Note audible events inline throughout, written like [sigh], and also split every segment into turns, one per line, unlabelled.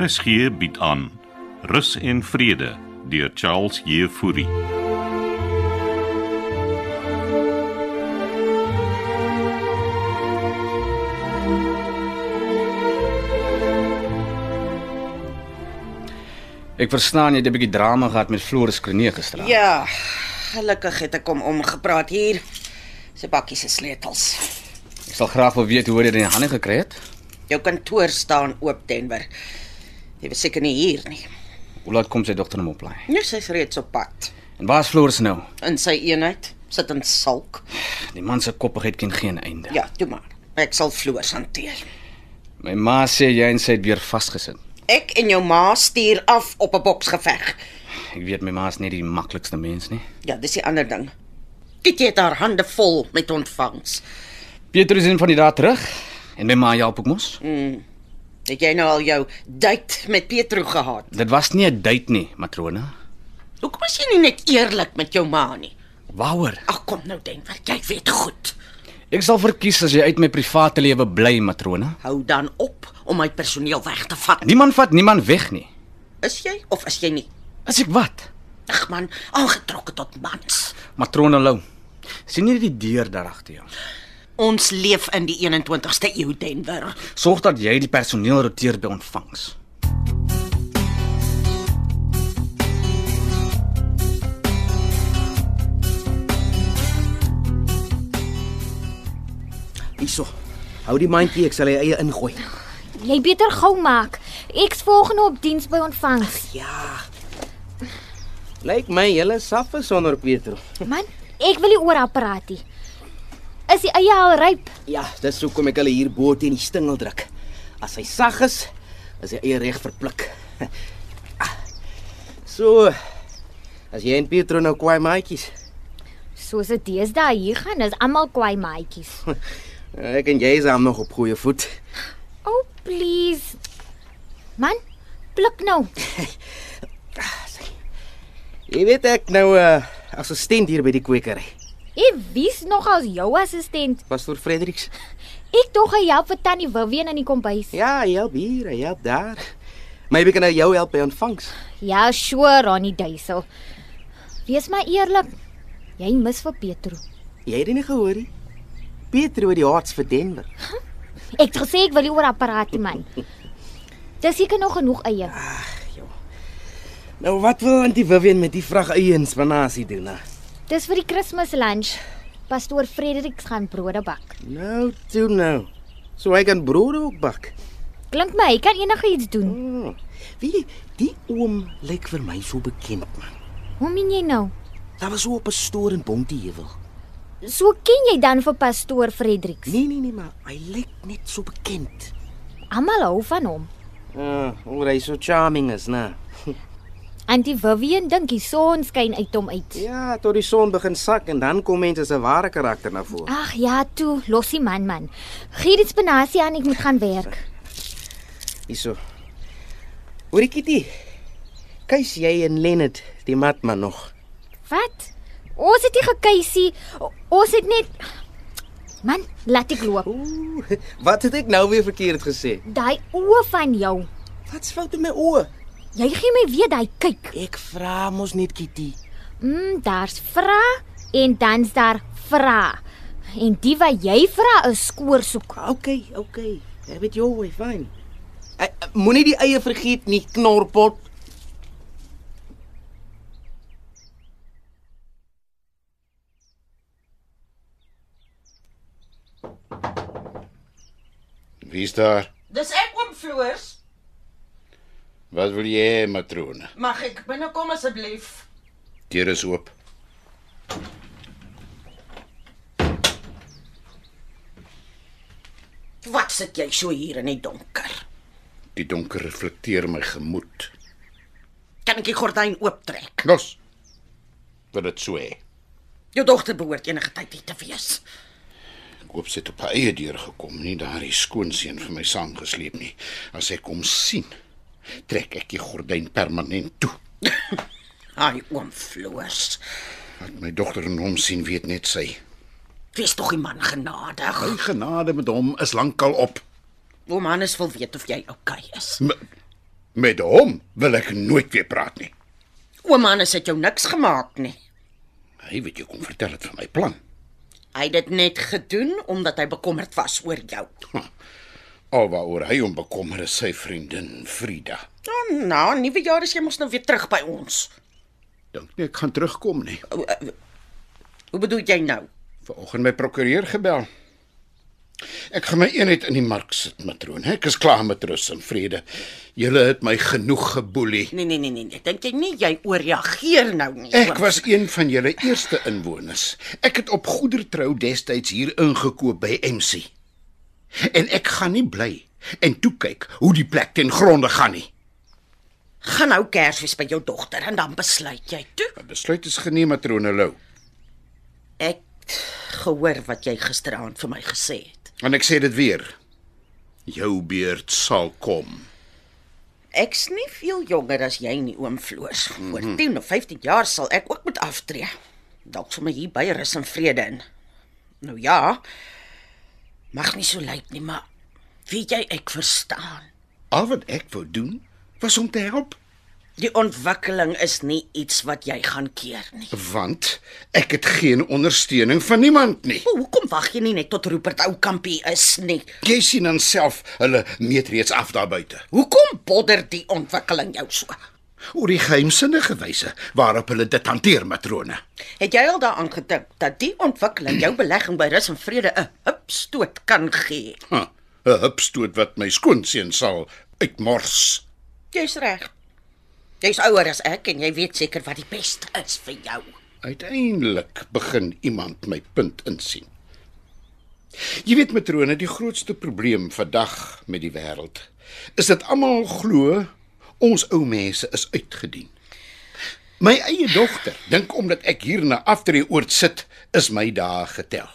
RSG bied aan Rus en Vrede deur Charles Jefouri.
Ek verstaan jy het 'n bietjie drama gehad met Floris Krone gister.
Ja, gelukkig het ek hom omgepraat hier. Sy bakkie se sleutels.
Ek sal graag wil weet hoe jy dit in die hande gekry het.
Jou kantoor staan oop Denver. Jy was seker nie hier nie.
Hoe laat kom sy dogter hom oplaai?
Nou sy's reeds op pad.
En waar's Floris nou?
In sy eenheid sit in sulk.
Die man se koppigheid ken geen einde.
Ja, toe maar. Ek sal floors hanteer.
My ma sê jy en sy het weer vasgesit.
Ek en jou ma stuur af op 'n boksgeveg.
Ek weet my ma is nie die maklikste mens nie.
Ja, dis die ander ding. Kitty het haar hande vol met ontvangs.
Petrus is in van die daad terug en my ma help ook mos. Mm.
Het jy nou al jou date met Petro gehad?
Dit was nie 'n date nie, matrona.
Hoekom is jy nie net eerlik met jou ma nie?
Waaroor?
Ag kom nou Denver, jy weet goed.
Ek sal verkies as jy uit my private lewe bly, matrona.
Hou dan op om my personeel weg te vat.
Niemand vat niemand weg nie.
Is jy of is jy nie?
As ek wat?
Ag man, aangetrokke tot mans.
Matrona Lou. Sien jy die deur daar agter jou?
Ons leef in die 21ste eeu Denver.
Sorg dat jy die personeel roteer by ontvangs.
Hyso. Hou die mandjie, ek sal hy eie ingooi.
Jy beter gou maak. Ek's volgende op diens by ontvangs.
Ja. Lyk my julle saf is sonder Pietro.
Man, ek wil nie oor haar praat nie. Is die eie al ryp?
Ja, dis hoekom ek hulle hier bo teen die stingel druk. As hy sag is, is hy eie reg verpluk. [laughs] Ah. So as jy en Pietro nou kwaai maatjies.
Soos dit deesdae hier gaan, is almal kwaai maatjies.
Ek en jy is hom nog op goeie voet.
Oh, please. Man, pluk nou.
Jy weet ek nou 'n uh, assistent hier by die kwekery.
Ek wie's nog as jou assistent.
Pastoor Fredericks.
Ek tog hy help vir tannie Vivian in die kombuis.
Ja, hy help hier, hy help daar. Maybe kan hy jou help by ontvangs.
Ja, sure, Ronnie Duisel. Wees maar eerlik. Jy mis vir Petro.
Jy het dit nie gehoor nie. Pietro het die harts vir Denver.
Ek het gesê ek wil nie oor haar praat nie, man. Dis seker nog genoeg eie.
Nou wat wil Auntie Vivian met die vrag eie inspanasie doen? hè?
Dis vir die Kersfees lunch. Pastoor Fredericks gaan brode bak.
Nou, toe nou. So hy kan brood ook bak.
Klink my hy kan enigiets doen.
Hmm. Wie die oom lyk vir my so bekend man.
Hoe min jy nou?
Daar was so op 'n stoor in Bontheuwel.
So ken jy dan vir pastoor Fredericks.
Nee nee nee, maar hy lyk net so bekend.
Almal hou van hom.
Ja, oor hy so charming is, né?
Antie Vivian dink die son skyn uit hom uit.
Ja, tot die son begin sak en dan kom mense se ware karakter na vore.
Ag ja, toe, los die man man. Gee dit spinasie aan, ek moet gaan werk.
Hyso. Hoorie Kitty. Kys jy en Leonard die matman nog?
Wat? Ons het nie gekuisie. Ons het net Man, laat ek loop.
Ooh, wat het ek nou weer verkeerd gesê?
Daai oë van jou.
Wat's fout met my oë?
Jy gee my weet hy kyk.
Ek vra mos net Kitty.
Mm, daar's vra en dan's daar vra. En die wat jy vra is skoorsoek.
OK, OK. Have it your way, fine. Ek- ek Moenie die eie vergeet nie, knorpot.
Wie's daar?
Dis ek oom Floors.
Wat wil jy hê, matrone?
Mag ek binnekom asseblief?
Deur is oop.
Wat sit jy so hier in die donker?
Die donker reflekteer my gemoed.
Kan ek die gordyn ooptrek?
Los. Wil dit so hê?
Jou dogter behoort enige tyd hier te wees.
Ek hoop sy het op haar eie deur gekom, nie daardie skoonseun vir my saamgesleep nie. As ek hom sien, trek ek die gordyn permanent toe.
Ai oom Floors.
Wat my dogter en hom sien, weet net sy.
Wees tog die man genadig.
My genade met hom is lankal op.
Oom Hannes wil weet of jy oukei okay is.
M Met hom wil ek nooit weer praat nie.
Ouma Hannes het jou niks gemaak nie.
Hy weet jy kom vertel dit van my plan.
Hy het dit net gedoen omdat hy bekommerd was oor jou.
Alwaaroor hy hom bekommer is sy vriendin Frida.
Nou, na nuwe jaar is jy mos nou weer terug by ons.
Dink nie ek gaan terugkom nie.
Hoe bedoel jy nou?
Vanoggend my prokureur gebel. Ek gaan my eenheid in die mark sit, matroon. Ek is klaar met rus en vrede. Julle het my genoeg geboelie.
Nee nee nee nee, nee. dink jy nie jy ooreageer nou nie?
Ek
oom?
was een van julle eerste inwoners. Ek het op goedertrou destyds hier ingekoop by MC. En ek gaan nie bly en toe kyk hoe die plek ten gronde gaan nie.
gaan nou Kersfees by jou dogter en dan besluit jy toe.
'n Besluit is geneem, matrone Lou.
Ek het gehoor wat jy gisteraand vir my gesê het.
En ek sê dit weer. Jou beurt sal kom.
Ek's nie veel jonger as jy nie, oom Floors.
Mhm.
Oor 10 of 15 jaar sal ek ook moet aftree. Dalk sommer hier by rus en vrede in. Nou ja. Mag nie so lyk nie, maar weet jy ek verstaan.
Al wat ek wou doen was om te help.
Die ontwikkeling is nie iets wat jy gaan keer nie.
want ek het geen ondersteuning van niemand nie.
O, hoekom wag jy nie net tot Rupert Oukampie is nie?
Jy sien dan self hulle meet reeds af daar buite
Hoekom bodder die ontwikkeling jou so?
oor die geheimsinnige wyse waarop hulle dit hanteer matrone.
Het jy al daaraan gedink dat die ontwikkeling jou belegging by rus en vrede 'n hupstoot kan gee?
Huh, 'n hupstoot wat my skoonseun sal uitmors.
Jy's reg. Jy's ouer as ek en jy weet seker wat die beste is vir jou.
Uiteindelik begin iemand my punt insien. Jy weet matrone, die grootste probleem vandag met die wêreld is dat almal glo ons ou mense is uitgedien. My eie dogter dink omdat ek hier na aftreeoord sit, is my dae getel.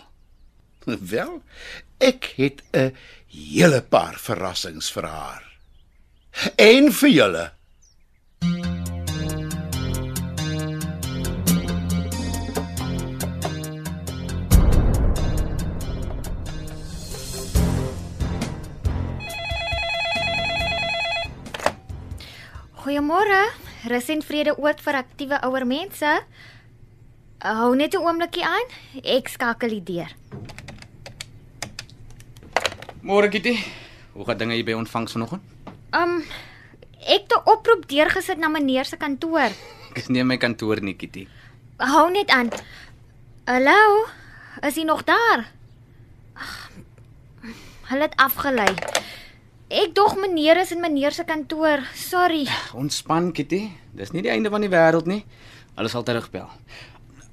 [laughs] Wel, ek het 'n hele paar verrassings vir haar. En vir julle.
Goeiemôre. Rus en vrede oort vir aktiewe ouer mense. Hou net 'n oombliekie aan. Ek skakel die deur.
Môre Kitty. Hoe gaan dinge hier by ontvangs vanoggend? [laughs]
Um ek het 'n oproep deurgesit na meneer se kantoor.
Ek is nie in my kantoor nie, Kitty.
Hou net aan. Hallo. Is hy nog daar? Ag, Hulle het afgelei. Ek dog meneer is in meneer se kantoor. Sorry.
Ontspan, Kitty. Dis nie die einde van die wêreld nie. Hulle sal terugbel.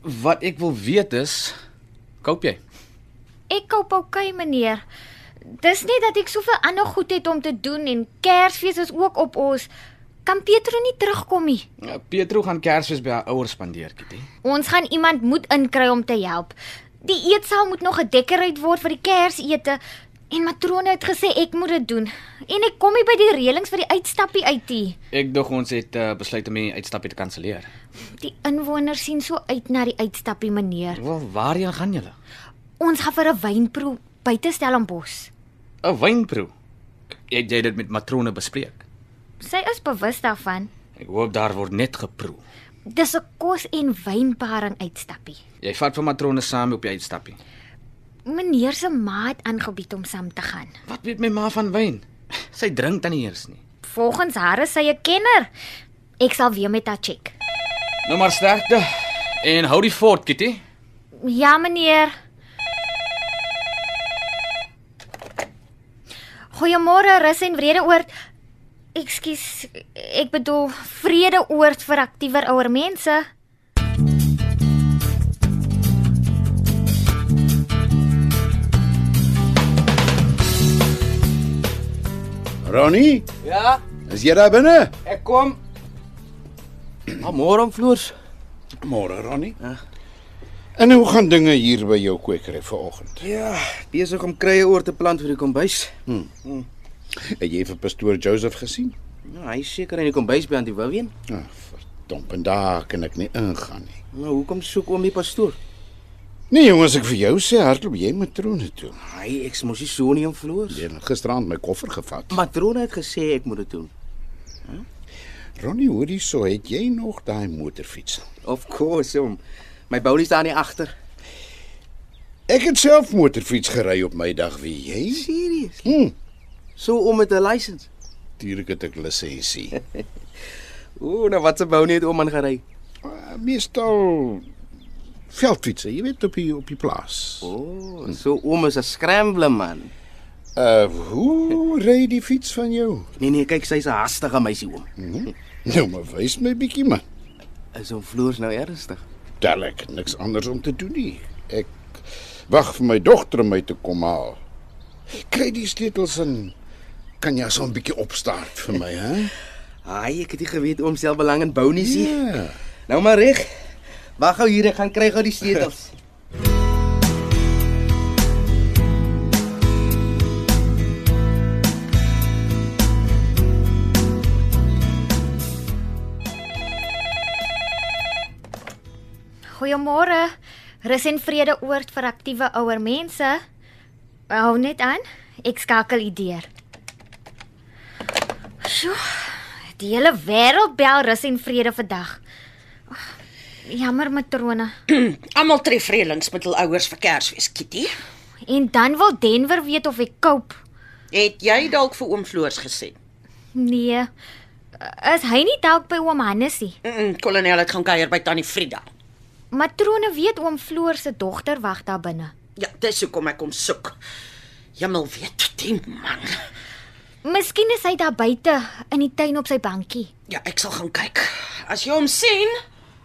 Wat ek wil weet is, koop jy?
Ek koop oukei, meneer. Dis nie dat ek soveel ander goed het om te doen en Kersfees is ook op ons. Kan Pietro nie terugkom nie.
Ja, Petro gaan Kersfees by haar ouers spandeer, Kitty.
Ons gaan iemand moet inkry om te help. Die eetsaal moet nog gedekoreer word vir die Kersete en matrone het gesê ek moet dit doen. En ek kom nie by die reëlings vir die uitstappie uit nie.
Ek dog ons het uh, besluit om die uitstappie te kanselleer.
Die inwoners sien so uit na die uitstappie, meneer.
Wel, waarheen gaan julle?
Ons gaan vir 'n wynproe buite Stellenbosch.
'n Wynproe. Het jy dit met matrone bespreek?
Sy is bewus daarvan.
Ek hoop daar word net geproe.
Dis 'n kos en wynparing uitstappie.
Jy vat vir matrone saam op die uitstappie.
Meneer se ma het aangebied om saam te gaan.
Wat weet my ma van wyn? Sy drink dan nie eers nie.
Volgens haar is sy 'n kenner. Ek sal weer met haar check.
Nou maar sterkte en hou die fort, Kitty.
Ja, meneer. Goeiemôre, Rus en Vredeoord. Ekskuus, ek bedoel Vredeoord vir aktiewer ouer mense.
Ronnie,
Ja,
is jy daar binne?
ek kom. Maar môre om floors.
Môre, Ronnie. Ja. En hoe gaan dinge hier by jou kwekery vanoggend?
Ja, besig om krye oor te plant vir die kombuis.
Het jy vir pastoor Joseph gesien?
Nou, hy is seker in die kombuis by aan die Wouween.
Ag, Ah, verdomp, en daar kan ek nie ingaan nie.
Nou, hoekom soek oom die pastoor?
Nee jongens, ek vir jou sê hardloop jy matrone toe.
Hy
Ja.
ek's mos nie so nie om floors.
Jy het gisterand my koffer gevat.
Matrone het gesê ek moet dit doen.
Ronnie, hoor hierso, het jy nog daai motorfiets?
Of course, om. My boulie staan hier agter.
Ek het self motorfiets gery op my dag, weet jy?
Seriously?
Hm,
So om met 'n lisensie.
tuurlik het ek lisensie.
Ooh, nou wat se boulie het oom aangery?
Uh, meestal veldfietsen, jy weet op die op die plaas.
Ooh, Oh, so oom is 'n scrambler man.
Uh hoe ry die fiets van jou?
Nee nee, kyk, sy's 'n hastige meisie oom.
Nou maar wys my bietjie man.
Is oom Floors nou ernstig?
Tel ek niks anders om te doen nie. Ek wag vir my dogter om my te kom haal. Kry die sleutels en kan jy so 'n bietjie opstaart vir my, hè?
Haai, ek het nie geweet oom self belang in bounies nie.
Ja.
Nou maar reg. Wag gou hier, ek gaan kry gou die sleutels.
Goeiemôre. Rus en vrede oord vir aktiewe ouer mense. Hou net aan. Ek skakel u deur. Sjoe. Die hele wêreld bel rus en vrede vandag. Ag, Jammer matrone.
Almal tref reëlings met hul ouers vir Kersfees, Kitty.
En dan wil Denver weet of ek koop.
Het jy dalk vir oom Floors gesê?
Nee. Is hy nie dalk by oom Hannesie?
Mm, -mm, kolonel het gaan kuier by tannie Frida.
Matrone weet oom Floor se dogter wag daar binne.
Ja, dis hoekom ek hom soek. Jemmel weet die man.
Miskien is hy daar buite in die tuin op sy bankie.
Ja, ek sal gaan kyk. As jy hom sien,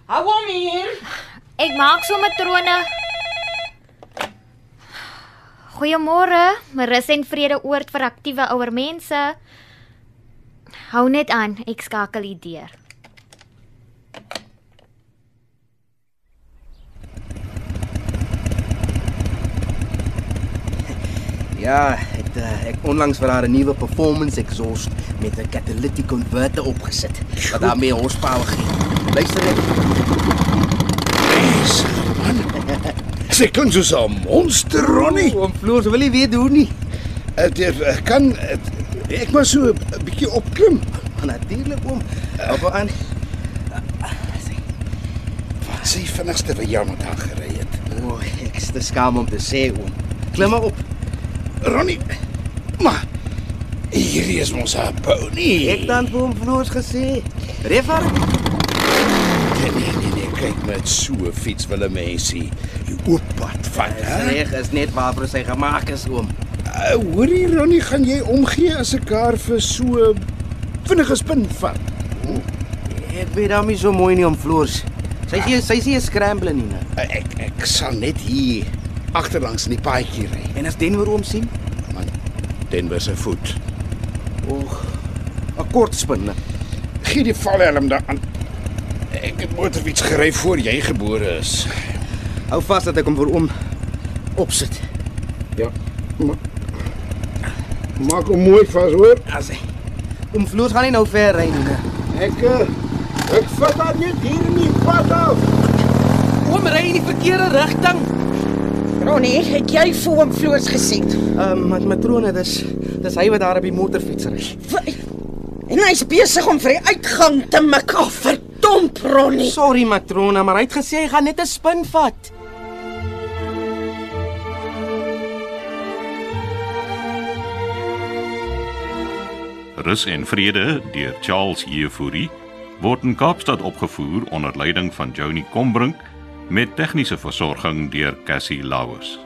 hou hom hier.
Ek maak so matrone. Goeiemôre, rus en vrede oord vir aktiewe ouer mense. Hou net aan, ek skakel die deur.
[laughs] Ja, het, uh, ek onlangs vir haar 'n nuwe performance exhaust met 'n catalytic converter opgesit wat haar meer horsepower gee. Luister net,
Dis man. Sy klink soos 'n monster, Ronnie.
oom Floors wil nie weet hoe nie.
Het uh, kan het, ek maar so 'n bietjie opklim.
Maar Natuurlik oom. Op aan.
Sy vinnigste wat jy met haar gery het.
O, oh, ek is te skaam om te sê oom. Klim maar op.
Ronnie. Maar hierdie is mos haar pony.
Ek dan vir oom Floors gesê, "Reffer,
Nee, nee, nee, nee, kyk met so 'n fiets wil 'n mensie die oop pad vat,
sy
hè?
reg is net waarvoor sy gemaak is oom."
Uh, Hoorie Ronnie, gaan jy omgee as ek haar vir so 'n vinnige spin vat?
Ek weet hom nie so mooi nie om Floors. Sy sê sy sê scramble nie. Nou.
Uh, Ek ek sal net hier agterlangs in die paadjie ry.
En as Denver oom sien,
Man, Denver se voet.
oeg, 'n kort spin. nou.
Gee die valhelm daaraan. Ek het motorfiets gery voor jy gebore is.
Hou vas dat ek hom vir oom opsit.
Ja. Ma Maak hom mooi vas hoor.
As hy. Oom Floors gaan nie nou ver ry nie.
Ek eh, ek vat haar net hier in die pad af.
Oom ry in die verkeerde rigting.
Ronnie, het jy vir oom Floors gesien?
Ehm, um, met matrone, dis dis hy wat daar op die motorfiets ry.
En hy's besig om vir die uitgang te mik. Oh, verdomp, Ronnie.
Sorry matrone, maar hy het gesê hy gaan net 'n spin vat.
Rus en Vrede deur Charles Jefouri word in Kaapstad opgevoer onder leiding van Johnny Combrink met tegniese versorging deur Cassie Lauers.